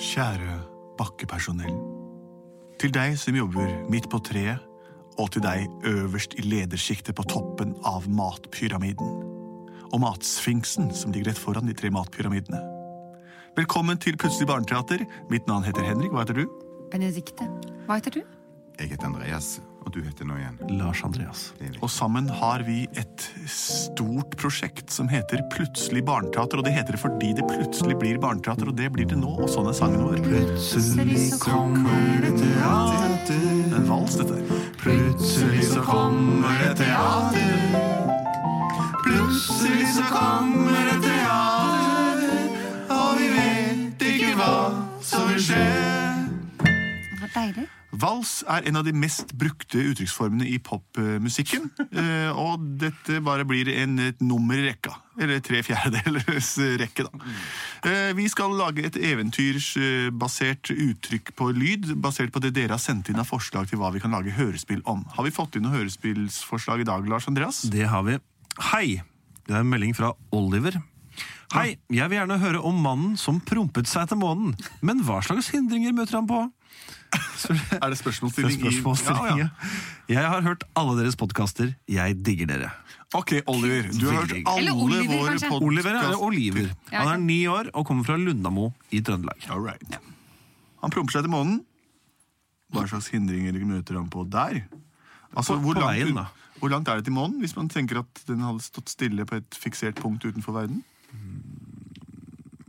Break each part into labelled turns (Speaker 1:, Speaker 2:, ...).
Speaker 1: Kjære bakkepersonell. Til deg som jobber midt på treet, og til deg øverst i ledersjiktet på toppen av matpyramiden. Og matsfinksen som ligger rett foran de tre matpyramidene. Velkommen til Plutselig barneteater. Mitt navn heter Henrik. Hva heter du?
Speaker 2: Benedikte, hva heter du?
Speaker 3: Jeg heter Andreas, og du heter nå igjen.
Speaker 1: Lars Andreas.
Speaker 3: Det er riktig.
Speaker 1: Og sammen har vi et stort prosjekt som heter Plutselig barneteater. Og det heter det fordi det plutselig blir barneteater, og det blir det nå. Og sånn er sangen vår.
Speaker 2: Plutselig så kommer det
Speaker 1: Det er En vals, dette her.
Speaker 3: Plutselig så kommer det teater. Plutselig så kommer det teater. Og vi vet ikke hva som vil skje.
Speaker 2: Det var deilig.
Speaker 1: Vals er en av de mest brukte uttrykksformene i popmusikken. eh, Og dette bare blir en, et nummer i rekka. Eller tre fjerdedelers rekke, da. Eh, Vi skal lage et eventyrsbasert uttrykk på lyd, basert på det dere har sendt inn av forslag til hva vi kan lage hørespill om. Har vi fått inn noen hørespillsforslag i dag, Lars Andreas?
Speaker 4: Det har vi. Hei! Det er en melding fra Oliver. Hei, jeg vil gjerne høre om mannen som prompet seg til månen. Men hva slags hindringer møter han på?
Speaker 1: Er det
Speaker 4: Det er
Speaker 1: spørsmålsstilling? i-
Speaker 4: spørsmålsstilling,
Speaker 1: Ja, ja.
Speaker 4: ja. Jeg har hørt alle deres podkaster. Jeg digger dere.
Speaker 1: Ok, Oliver. Du har hørt
Speaker 4: Veldig.
Speaker 1: alle
Speaker 2: Eller Oliver,
Speaker 1: våre
Speaker 2: kanskje.
Speaker 1: podkast...
Speaker 4: Oliver er Oliver.
Speaker 2: Ja,
Speaker 4: Han
Speaker 2: ja.
Speaker 4: er ni år og kommer fra Lundamo i Trøndelag.
Speaker 1: All right. Han promper seg til månen. Hva slags hindringer møter han på der? Altså,
Speaker 4: På-
Speaker 1: hvor,
Speaker 4: på
Speaker 1: langt,
Speaker 4: veien, da.
Speaker 1: hvor langt er det til månen, hvis man tenker at den hadde stått stille på et fiksert punkt utenfor verden?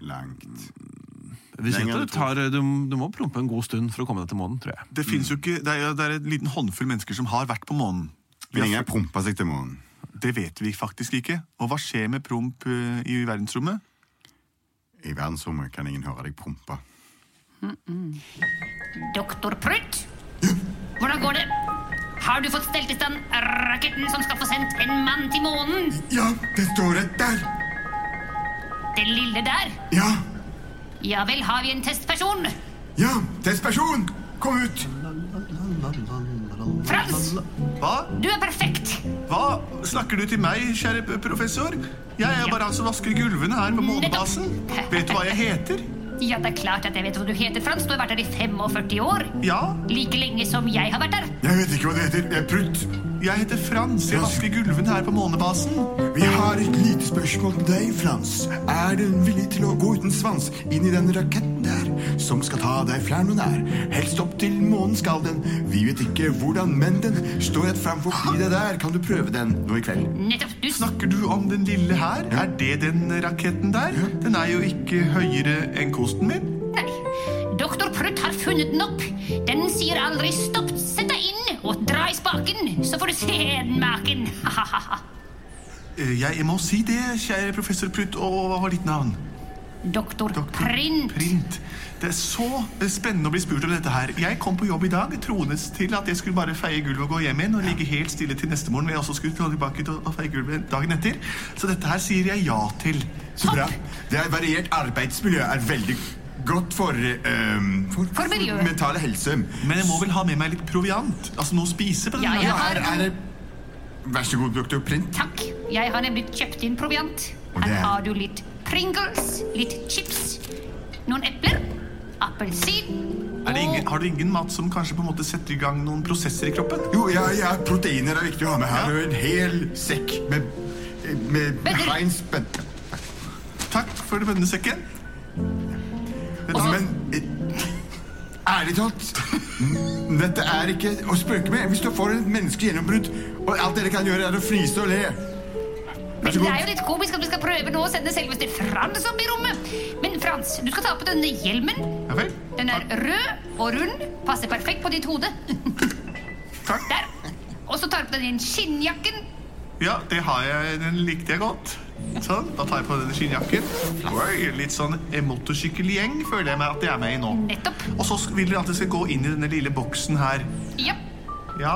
Speaker 3: Langt.
Speaker 4: Vi ser
Speaker 1: Lenger
Speaker 4: at
Speaker 1: enn
Speaker 4: det tar, du, du må prompe en god stund for å komme deg til månen, tror jeg.
Speaker 1: Det, finnes jo ikke, det, er, det er en liten håndfull mennesker som har vært på månen. Vi
Speaker 3: Men
Speaker 1: har,
Speaker 3: ingen promper seg til månen.
Speaker 1: det vet vi faktisk ikke. Og hva skjer med promp eh, i verdensrommet?
Speaker 3: I verdensrommet kan ingen høre deg prompe.
Speaker 5: Doktor Prutt? Hvordan går det? Har du fått stelt i stand raketten som skal få sendt en mann til månen?
Speaker 3: Ja, det står det der!
Speaker 5: Den lille der?
Speaker 3: Ja!
Speaker 5: Ja vel, har vi en testperson?
Speaker 3: Ja! Testperson! Kom ut!
Speaker 5: Frans,
Speaker 1: Hva?
Speaker 5: du er perfekt!
Speaker 1: Hva snakker du til meg, kjære p- professor? Jeg er bare han som vasker gulvene her på månebasen. Vet du hva jeg heter?
Speaker 5: Ja, det er klart at jeg vet hva du heter, Frans. Du har vært her i 45 år.
Speaker 1: Ja,
Speaker 5: Like lenge som jeg har vært her.
Speaker 3: Jeg vet ikke hva det heter. Jeg er prutt.
Speaker 1: Jeg heter Frans. Jeg vasker gulvene her på månebasen.
Speaker 3: Vi har et lite spørsmål til deg, Frans. Er du villig til å gå uten svans inn i den raketten der, som skal ta deg fjern og nær? Helst opp til månen skal den. Vi vet ikke hvordan, men den står rett fram forbi deg der. Kan du prøve den nå i kveld?
Speaker 5: Nettopp. Du
Speaker 1: Snakker du om den lille her? Er det den raketten der? Den er jo ikke høyere enn kosten min.
Speaker 5: Nei. Doktor Prutt har funnet den opp. Den sier aldri stopp. Sett deg inn og dra i spaken, så får du se den maken.
Speaker 1: Eh, Jeg må si det, kjære professor Prutt. Og hva var ditt navn?
Speaker 5: Doktor
Speaker 1: Doktor
Speaker 5: Print.
Speaker 1: Print. Det er så eh, spennende å bli spurt om dette her. Jeg kom på jobb i dag troende til at jeg skulle bare feie gulvet og gå hjem igjen og ligge helt stille til neste morgen. hvor Jeg også skulle gå tilbake til å feie gulvet dagen etter. Så dette her sier jeg ja til.
Speaker 3: Så bra. Det er variert arbeidsmiljø er veldig godt for ehm, for,
Speaker 5: For miljøet.
Speaker 3: mentale helse.
Speaker 1: Men jeg må vel ha med meg litt proviant? Altså noe å spise? på den
Speaker 5: Ja,
Speaker 1: dagen.
Speaker 5: jeg
Speaker 3: Ja, her
Speaker 5: har
Speaker 3: er det Vær så god, doktor Print.
Speaker 5: Takk. Jeg har nemlig kjøpt inn proviant.
Speaker 3: Og det
Speaker 5: Her
Speaker 3: er-
Speaker 5: har du litt Pringles, litt chips, noen epler, appelsin
Speaker 1: Er det ingen,
Speaker 5: og
Speaker 1: har du ingen mat som kanskje på en måte setter i gang noen prosesser i kroppen?
Speaker 3: Jo, ja, ja, proteiner er viktig å ha med her. Og en hel sekk med, med
Speaker 5: Bønner.
Speaker 3: Heinz bønner.
Speaker 1: Takk for bønnesekken.
Speaker 3: Altså, men eh, ærlig talt, n- dette er ikke å spøke med. Hvis du får et menneskelig gjennombrudd, og alt dere kan gjøre, er å fnise og le.
Speaker 5: Men det er jo litt komisk at du skal prøve nå å sende selveste Frans opp i rommet. Men Frans, du skal ta på denne hjelmen.
Speaker 1: Ja vel.
Speaker 5: Den er rød og rund, passer perfekt på ditt hode.
Speaker 1: Takk.
Speaker 5: Der. Og så tar du på deg den skinnjakken.
Speaker 1: Ja, det har jeg, den likte jeg godt. Sånn, Da tar jeg på denne skinnjakken. Oi, Litt sånn eh, motorsykkelgjeng føler jeg meg at jeg er med i nå.
Speaker 6: Nettopp.
Speaker 1: Og så vil dere at jeg skal gå inn i denne lille boksen her.
Speaker 6: Ja.
Speaker 1: Ja,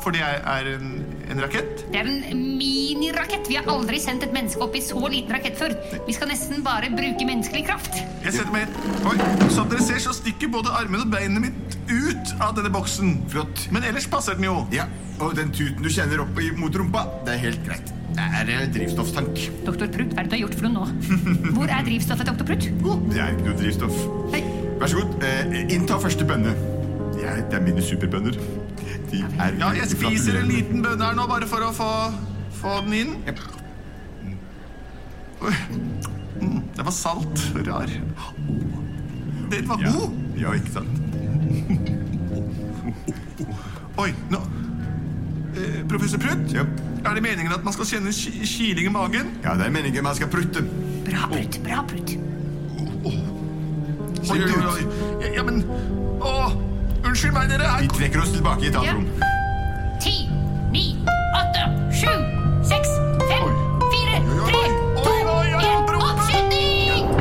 Speaker 1: for det er- er en, en rakett.
Speaker 6: Det er en minirakett. Vi har aldri sendt et menneske opp i så liten rakett før. Vi skal nesten bare bruke menneskelig kraft.
Speaker 1: Jeg setter meg Oi, Som dere ser, så stikker både armene og beinet mitt ut av denne boksen.
Speaker 3: Flott.
Speaker 1: Men ellers passer den jo.
Speaker 3: Ja, og den tuten du kjenner opp i- mot rumpa, det er helt greit. Det er eh, drivstofftank.
Speaker 6: Doktor Prutt, hva er det du har gjort for noe nå? Hvor er drivstoffet, doktor Prutt?
Speaker 3: Oh, det er ikke noe drivstoff.
Speaker 6: Hei.
Speaker 3: Vær så god, eh, innta første bønne. Jeg, det er mine superbønner. De er
Speaker 1: Ja, jeg spiser en liten bønne her nå, bare for å få, få den inn.
Speaker 3: Jep.
Speaker 1: Oi. Mm, Den var salt og rar. Den var
Speaker 3: Ja.
Speaker 1: god!
Speaker 3: ja, ikke sant?
Speaker 1: Oi, nå eh, Professor Prutt?
Speaker 3: Jep.
Speaker 1: Er det meningen at man skal kjenne ki- kiling i magen?
Speaker 3: Ja, det er meningen man skal prutte.
Speaker 6: Bra, Prutt. Bra, Prutt.
Speaker 1: Oi,
Speaker 3: Kjenn
Speaker 1: oi,
Speaker 3: ut.
Speaker 1: oi. Ja, Ja, men Å, unnskyld meg, dere.
Speaker 3: Vi
Speaker 1: Her kom
Speaker 3: trekker oss tilbake i et annet
Speaker 6: Ja.
Speaker 3: rom.
Speaker 6: Ti, ni, åtte, sju, seks, fem, fire,
Speaker 1: oi.
Speaker 6: tre,
Speaker 1: Oi,
Speaker 6: to,
Speaker 1: oi, oi,
Speaker 6: en.
Speaker 1: Prutt.
Speaker 6: Oppskyting!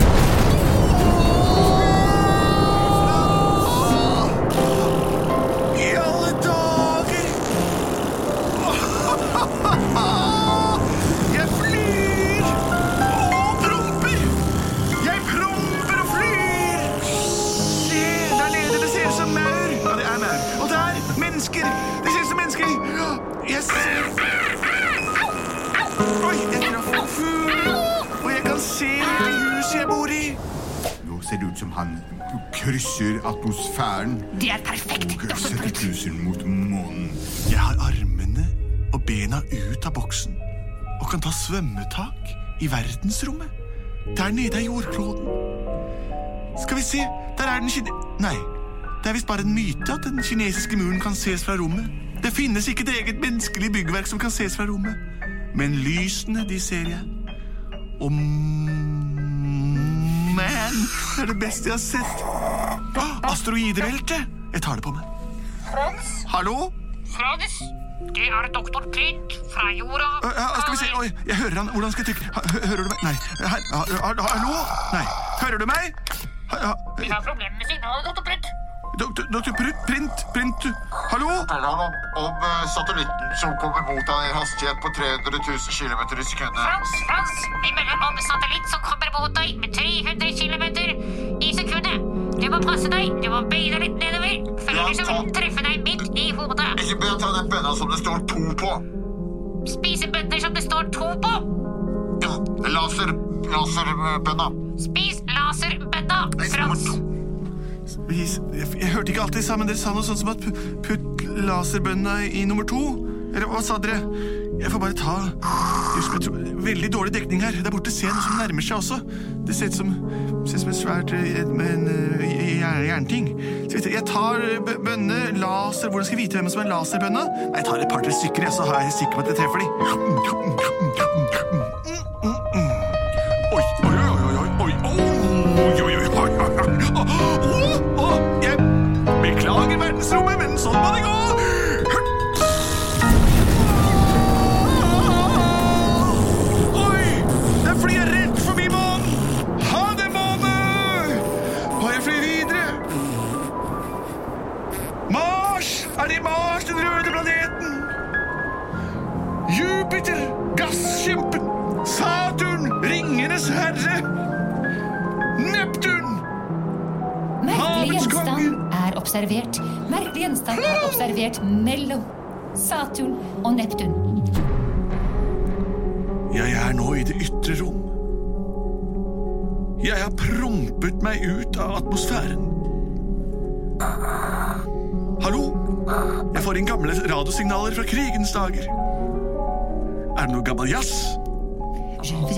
Speaker 1: I alle dager! Jeg flyr og promper! Jeg promper og flyr! Se, der nede, det ser ut som maur. Ja, det er maur. Og der, mennesker. Det ser ut som mennesker. Ja, Jeg ser Oi, jeg traff en fugl. Og jeg kan se hele huset jeg bor i.
Speaker 3: Nå ser det ut som han krysser atmosfæren.
Speaker 6: Det er perfekt, doktor Prutt.
Speaker 3: 7000 mot månen.
Speaker 1: Jeg har armene og bena ut av boksen og kan ta svømmetak i verdensrommet. Der nede er jordkloden. Skal vi se, der er den kine... Nei, det er visst bare en myte at den kinesiske muren kan ses fra rommet. Det finnes ikke et eget menneskelig byggverk som kan ses fra rommet. Men lysene, de ser jeg. Og m- man, det er det beste jeg har sett. Ah, Asteroideveltet! Jeg tar det på meg. Hallo?
Speaker 6: Frades, det er doktor Prutt fra jorda.
Speaker 1: Ja, ja, skal vi se. Oi, jeg hører han. Hvordan skal jeg trykke? Ha- hø- Hører du meg? Nei. Her. Ha- ha- ha- Hallo? Nei. Hører du meg? Ha- ha-
Speaker 6: har problemer med signalet, doktor Prutt.
Speaker 1: Doktor doktor Pr- Print. Print. Hallo?
Speaker 7: Alarm om, om eh, satellitten som kommer mot deg i en hastighet på 300 000 km i sekundet.
Speaker 6: Frans, Frans, vi melder om satellitt som kommer mot deg med 300 km i sekundet. Du må passe deg, du må bøye deg litt nedover, for ellers så vil den treffe deg midt i hodet.
Speaker 7: Ikke begynn å ta den bønna som det står to på.
Speaker 6: Spise bønner som det står to på.
Speaker 7: Ja, laser, laserbønna.
Speaker 6: Spis laserbønna, Frans.
Speaker 1: Vis- Jeg, jeg hørte ikke alt dere sa, men dere sa noe sånt som at pu- putt laserbønna i nummer to. Eller hva sa dere? Jeg får bare ta Just, jeg tror, Veldig dårlig dekning her. Der borte ser jeg noe som nærmer seg også. Det ser ut som, ser ut som et svært eh, med en eh, j- j- jernting. Skal vi se, Jeg tar eh, bø- bønne, laser Hvordan skal jeg vite hvem som er laserbønna? Nei, Jeg tar et par-tre stykker, jeg, så er jeg sikker på at jeg treffer de. Oi, oi, oi, oi, oi, oi, oi, oi, oi, oi, oi, oi. Åh, åh, åh, jeg Beklager verdensrommet, men sånn må det gå! Hørt. Oi! Der flyr jeg rett forbi månen! Ha det, måne! Og jeg flyr videre. Mars! Er det Mars, den røde planeten? Jupiter, gasskjempen. Saturn, ringenes herre. Neptun!
Speaker 5: Merkelig
Speaker 1: Havets
Speaker 5: gjenstand er observert. Merkelig gjenstand er observert mellom Saturn og Neptun.
Speaker 1: Jeg er nå i det ytre rom. Jeg har prompet meg ut av atmosfæren. Hallo? Jeg får inn gamle radiosignaler fra krigens dager. Er det noe gammel jazz? Var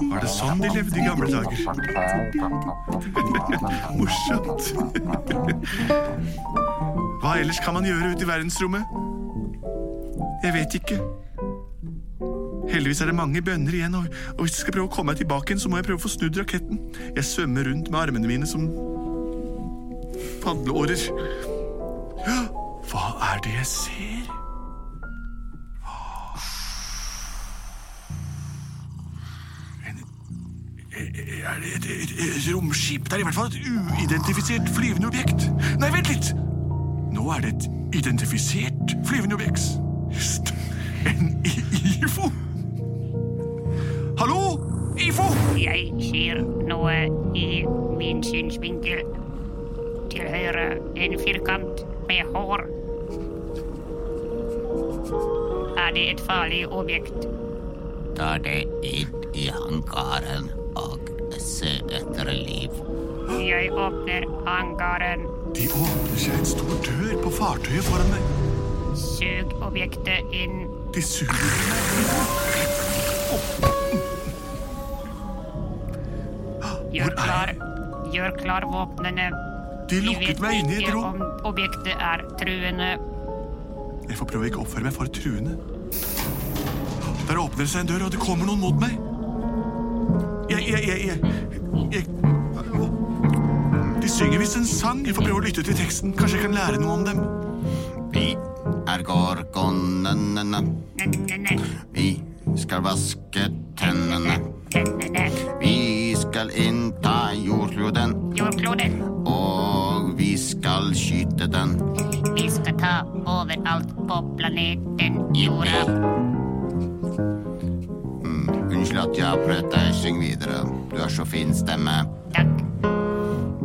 Speaker 1: det sånn de levde i gamle dager? Morsomt. Hva ellers kan man gjøre ute i verdensrommet? Jeg vet ikke. Heldigvis er det mange bønner igjen, og, og hvis jeg skal prøve å komme meg tilbake igjen, så må jeg prøve å få snudd raketten. Jeg svømmer rundt med armene mine som padleårer. Hva er det jeg ser? En, er det et, et, et romskip? Det er i hvert fall et uidentifisert flyvende objekt. Nei, vent litt! Nå er det et identifisert flyvende objekt. St- En i- IFO? Hallo? IFO?
Speaker 6: Jeg ser noe i min synsvinkel. Til høyre en firkant med hår. Er det et farlig objekt?
Speaker 8: Ta det inn i hangaren og se etter liv.
Speaker 6: Jeg åpner hangaren.
Speaker 1: De åpner seg en stor dør på fartøyet foran meg.
Speaker 6: Sug objektet inn.
Speaker 1: De suger i meg.
Speaker 6: Gjør
Speaker 1: Hvor er
Speaker 6: klar, gjør klar våpnene.
Speaker 1: De
Speaker 6: Vi
Speaker 1: lukket
Speaker 6: vet
Speaker 1: meg inne i et
Speaker 6: ikke
Speaker 1: rom.
Speaker 6: om objektet er truende.
Speaker 1: Jeg får prøve å ikke oppføre meg for truende. Der åpner det seg en dør, og det kommer noen mot meg. Jeg, jeg, jeg, jeg, jeg De synger visst en sang. Jeg får prøve å lytte til teksten. Kanskje jeg kan lære noe om dem.
Speaker 8: Vi er gorgonene.
Speaker 6: Nennene,
Speaker 8: Vi skal vaske tennene.
Speaker 6: nennene,
Speaker 8: Vi skal innta jordkloden,
Speaker 6: jordkloden.
Speaker 8: og vi skal skyte den.
Speaker 6: Vi skal ta overalt på planeten jorda.
Speaker 8: Unnskyld at jeg avbrøt deg. Syng videre. Du har så fin stemme.
Speaker 6: Takk.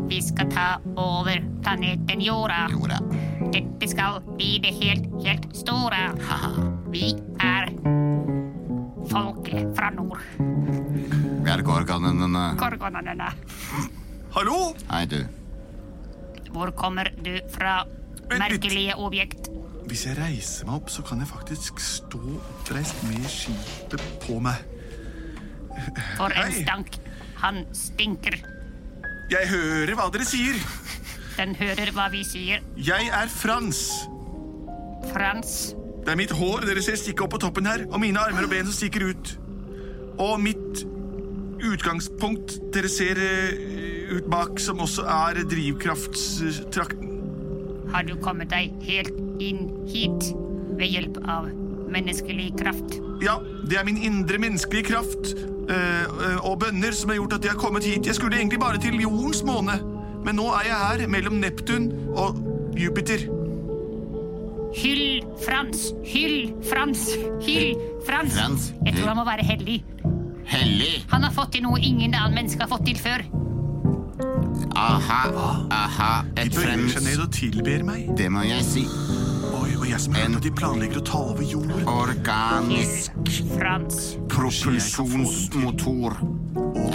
Speaker 6: Vi skal ta over planeten jorda.
Speaker 8: Jorda.
Speaker 6: Dette skal bli det helt, helt store.
Speaker 8: Haha.
Speaker 6: Vi er folket fra nord.
Speaker 8: Vi er gorgonene.
Speaker 6: Gorgonene.
Speaker 1: Hallo?
Speaker 8: Hei, du.
Speaker 6: Hvor kommer du fra?
Speaker 1: Vent litt.
Speaker 6: Merkelige objekt.
Speaker 1: Hvis jeg reiser meg opp, så kan jeg faktisk stå oppreist med skipet på meg.
Speaker 6: For en
Speaker 1: Hei.
Speaker 6: stank. Han stinker.
Speaker 1: Jeg hører hva dere sier.
Speaker 6: Den hører hva vi sier.
Speaker 1: Jeg er Frans.
Speaker 6: Frans.
Speaker 1: Det er mitt hår dere ser stikke opp på toppen her, og mine armer og ben som stikker ut. Og mitt utgangspunkt dere ser eh, ut bak, som også er drivkraftstrakten.
Speaker 6: har du kommet deg helt inn hit ved hjelp av menneskelig kraft.
Speaker 1: Ja, det er min indre menneskelige kraft eh, eh, og bønner som har gjort at jeg har kommet hit. Jeg skulle egentlig bare til jordens måne, men nå er jeg her mellom Neptun og Jupiter.
Speaker 6: Hyll Frans! Hyll Frans! Hyll Frans!
Speaker 8: Frans,
Speaker 6: Jeg tror
Speaker 8: hyll.
Speaker 6: han må være heldig.
Speaker 8: Hellig.
Speaker 6: Han har fått til noe ingen annen menneske har fått til før.
Speaker 8: Aha. Aha.
Speaker 1: De
Speaker 8: Et
Speaker 1: bøyer seg
Speaker 8: frems...
Speaker 1: ned og tilber meg.
Speaker 8: Det må jeg si.
Speaker 1: Oi, og jeg som
Speaker 8: En-
Speaker 1: hører at de planlegger å ta over jorden.
Speaker 8: Organisk
Speaker 6: Hyll Frans.
Speaker 8: propulsjonsmotor.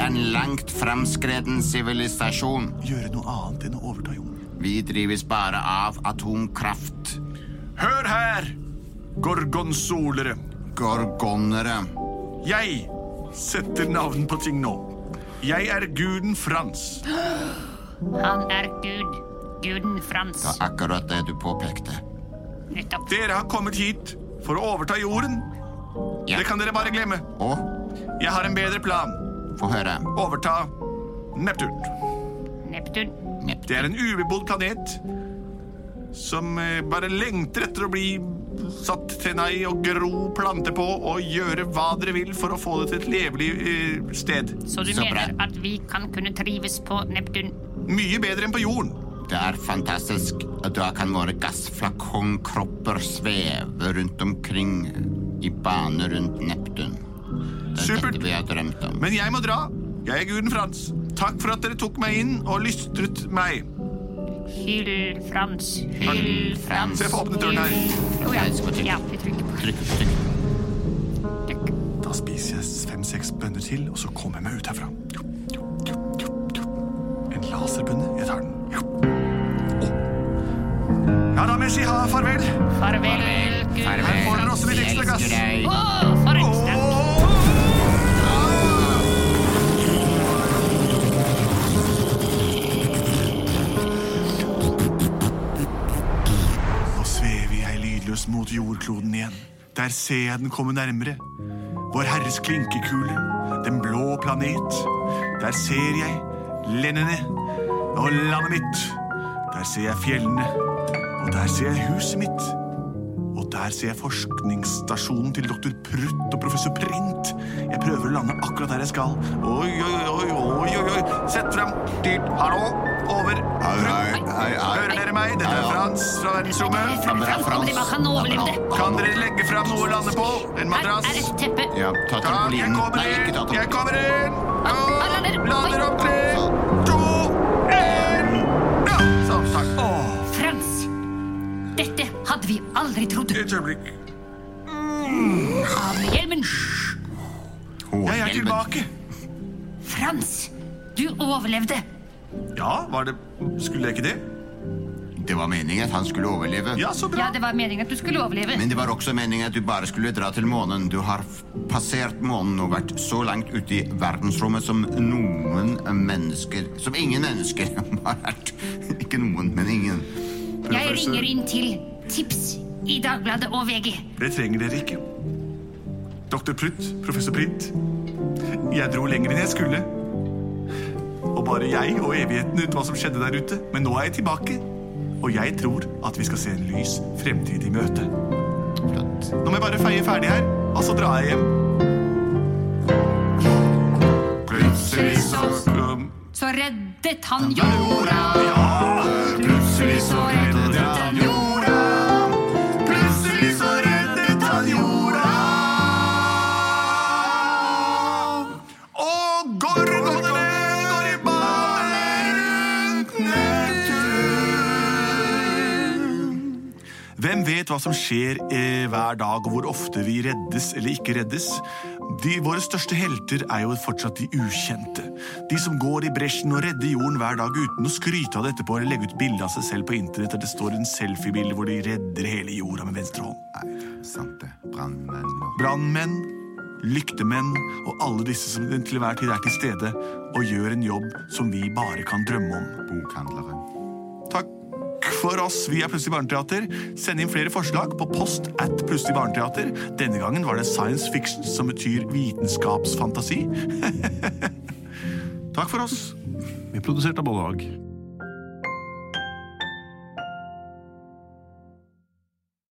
Speaker 8: En langt fremskreden sivilisasjon.
Speaker 1: Gjøre noe annet enn å overta jorden.
Speaker 8: Vi drives bare av atomkraft.
Speaker 1: Hør her, gorgonsolere.
Speaker 8: Gorgonere.
Speaker 1: Jeg setter navn på ting nå. Jeg er guden Frans.
Speaker 6: Han er Gud. Guden Frans.
Speaker 8: Det var akkurat det du påpekte.
Speaker 6: Nettopp.
Speaker 1: Dere har kommet hit for å overta jorden.
Speaker 8: Ja.
Speaker 1: Det kan dere bare glemme.
Speaker 8: Og
Speaker 1: Jeg har en bedre plan.
Speaker 8: få høre.
Speaker 1: Overta Neptun.
Speaker 6: Neptun.
Speaker 1: Det er en ubebodd planet som eh, bare lengter etter å bli satt tenna i og gro planter på og gjøre hva dere vil for å få det til et levelig eh, sted.
Speaker 6: Så du
Speaker 8: Så bra.
Speaker 6: mener at vi kan kunne trives på Neptun?
Speaker 1: Mye bedre enn på jorden.
Speaker 8: Det er fantastisk. Da kan våre gassflakongkropper sveve rundt omkring i bane rundt Neptun. Det er
Speaker 1: Supert.
Speaker 8: dette vi har drømt om.
Speaker 1: Men jeg må dra. Jeg er guden Frans. Takk for at dere tok meg inn og lystret meg.
Speaker 6: Hyll Frans. Hyll Frans.
Speaker 1: Så jeg får åpne døren her.
Speaker 6: Å ja.
Speaker 8: Jeg skal trykke.
Speaker 6: ja, vi trykker på.
Speaker 8: Trykk, trykk.
Speaker 6: Trykk.
Speaker 1: Da spiser jeg fem-seks bønner til, og så kommer jeg meg ut herfra. En laserbønne. Jeg tar den. Å. Ja, da må jeg si ha farvel.
Speaker 6: Farvel, Gud.
Speaker 1: Her får dere også litt ekstra gass.
Speaker 6: Å, for en stank.
Speaker 1: Å. Nå svever jeg lydløs mot jordkloden igjen. Der ser jeg den komme nærmere. Vår Herres klinkekule, den blå planet. Der ser jeg lendene og landet mitt. Der ser jeg fjellene Og der ser jeg huset mitt. Og der ser jeg forskningsstasjonen til doktor Prutt og professor Print. Jeg prøver å lande akkurat der jeg skal. Oi, oi, oi, oi, oi, oi. Sett frem dyrt. Hallo. Over.
Speaker 3: Hei, hei, hei,
Speaker 1: Hører
Speaker 3: hei.
Speaker 1: dere meg? Dette er Frans fra verdensrommet.
Speaker 8: Ja, men det er Frans.
Speaker 5: Aldri var han overlevde.
Speaker 1: Kan dere legge fram noe å lande på? En
Speaker 5: Her er
Speaker 1: madrass?
Speaker 5: et teppe.
Speaker 8: Ja,
Speaker 1: Ja,
Speaker 8: ta
Speaker 1: jeg
Speaker 8: trampolinen.
Speaker 1: kommer
Speaker 8: Nei, ikke ta
Speaker 1: inn. Jeg
Speaker 8: trampolinen.
Speaker 1: kommer inn.
Speaker 5: Han- han lander.
Speaker 1: Ja,
Speaker 5: Oi.
Speaker 1: Lander om tre, to, én. Ja, sånn. Takk. Åh.
Speaker 5: Frans! Dette hadde vi aldri trodd.
Speaker 1: Et øyeblikk.
Speaker 5: Av med hjelmen.
Speaker 1: Jeg er tilbake.
Speaker 5: Frans, du overlevde.
Speaker 1: Ja, var det Skulle jeg ikke det?
Speaker 8: Det var meningen at han skulle overleve.
Speaker 1: Ja, så bra.
Speaker 5: Ja, det var meningen at du skulle overleve.
Speaker 8: Men det var også meningen at du bare skulle dra til månen. Du har f- passert månen og vært så langt ute i verdensrommet som noen mennesker Som ingen mennesker har vært. Ikke noen, men ingen.
Speaker 5: Jeg
Speaker 1: Professor.
Speaker 5: ringer inn til Tips i Dagbladet og VG.
Speaker 1: Det trenger dere ikke. Doktor Prutt, professor Print. Jeg dro lenger enn jeg skulle. Og bare jeg og evigheten ut hva som skjedde der ute. Men nå er jeg tilbake. Og jeg tror at vi skal se en lys fremtid i møte.
Speaker 8: Flott.
Speaker 1: Nå må jeg bare feie ferdig her, og så drar jeg hjem.
Speaker 7: Plutselig så
Speaker 1: Um,
Speaker 5: Så reddet han jo
Speaker 1: ja!
Speaker 7: Plutselig så reddet
Speaker 1: han jorda. Plutselig så reddet han jorda. Og gorgonene går i baner rundt Neptun. Hvem vet hva som skjer eh, hver dag, og hvor ofte vi reddes eller ikke reddes? De, våre største helter er jo fortsatt de ukjente. De som går i bresjen og redder jorden hver dag uten å skryte av det etterpå eller legge ut bilde av seg selv på internett der det står en selfiebilde hvor de redder hele jorda med venstre hånd.
Speaker 8: Nei, sant det. Brannmenn og
Speaker 1: Brannmenn, lyktemenn og alle disse som til hver tid er til stede og gjør en jobb som vi bare kan drømme om.
Speaker 8: bokhandlere.
Speaker 1: Takk for oss. Vi er Plutselig barneteater. Send inn flere forslag på post at Plutselig barneteater. Denne gangen var det science fiction, som betyr vitenskapsfantasi. Takk for oss.
Speaker 4: Vi er produsert av Bollag.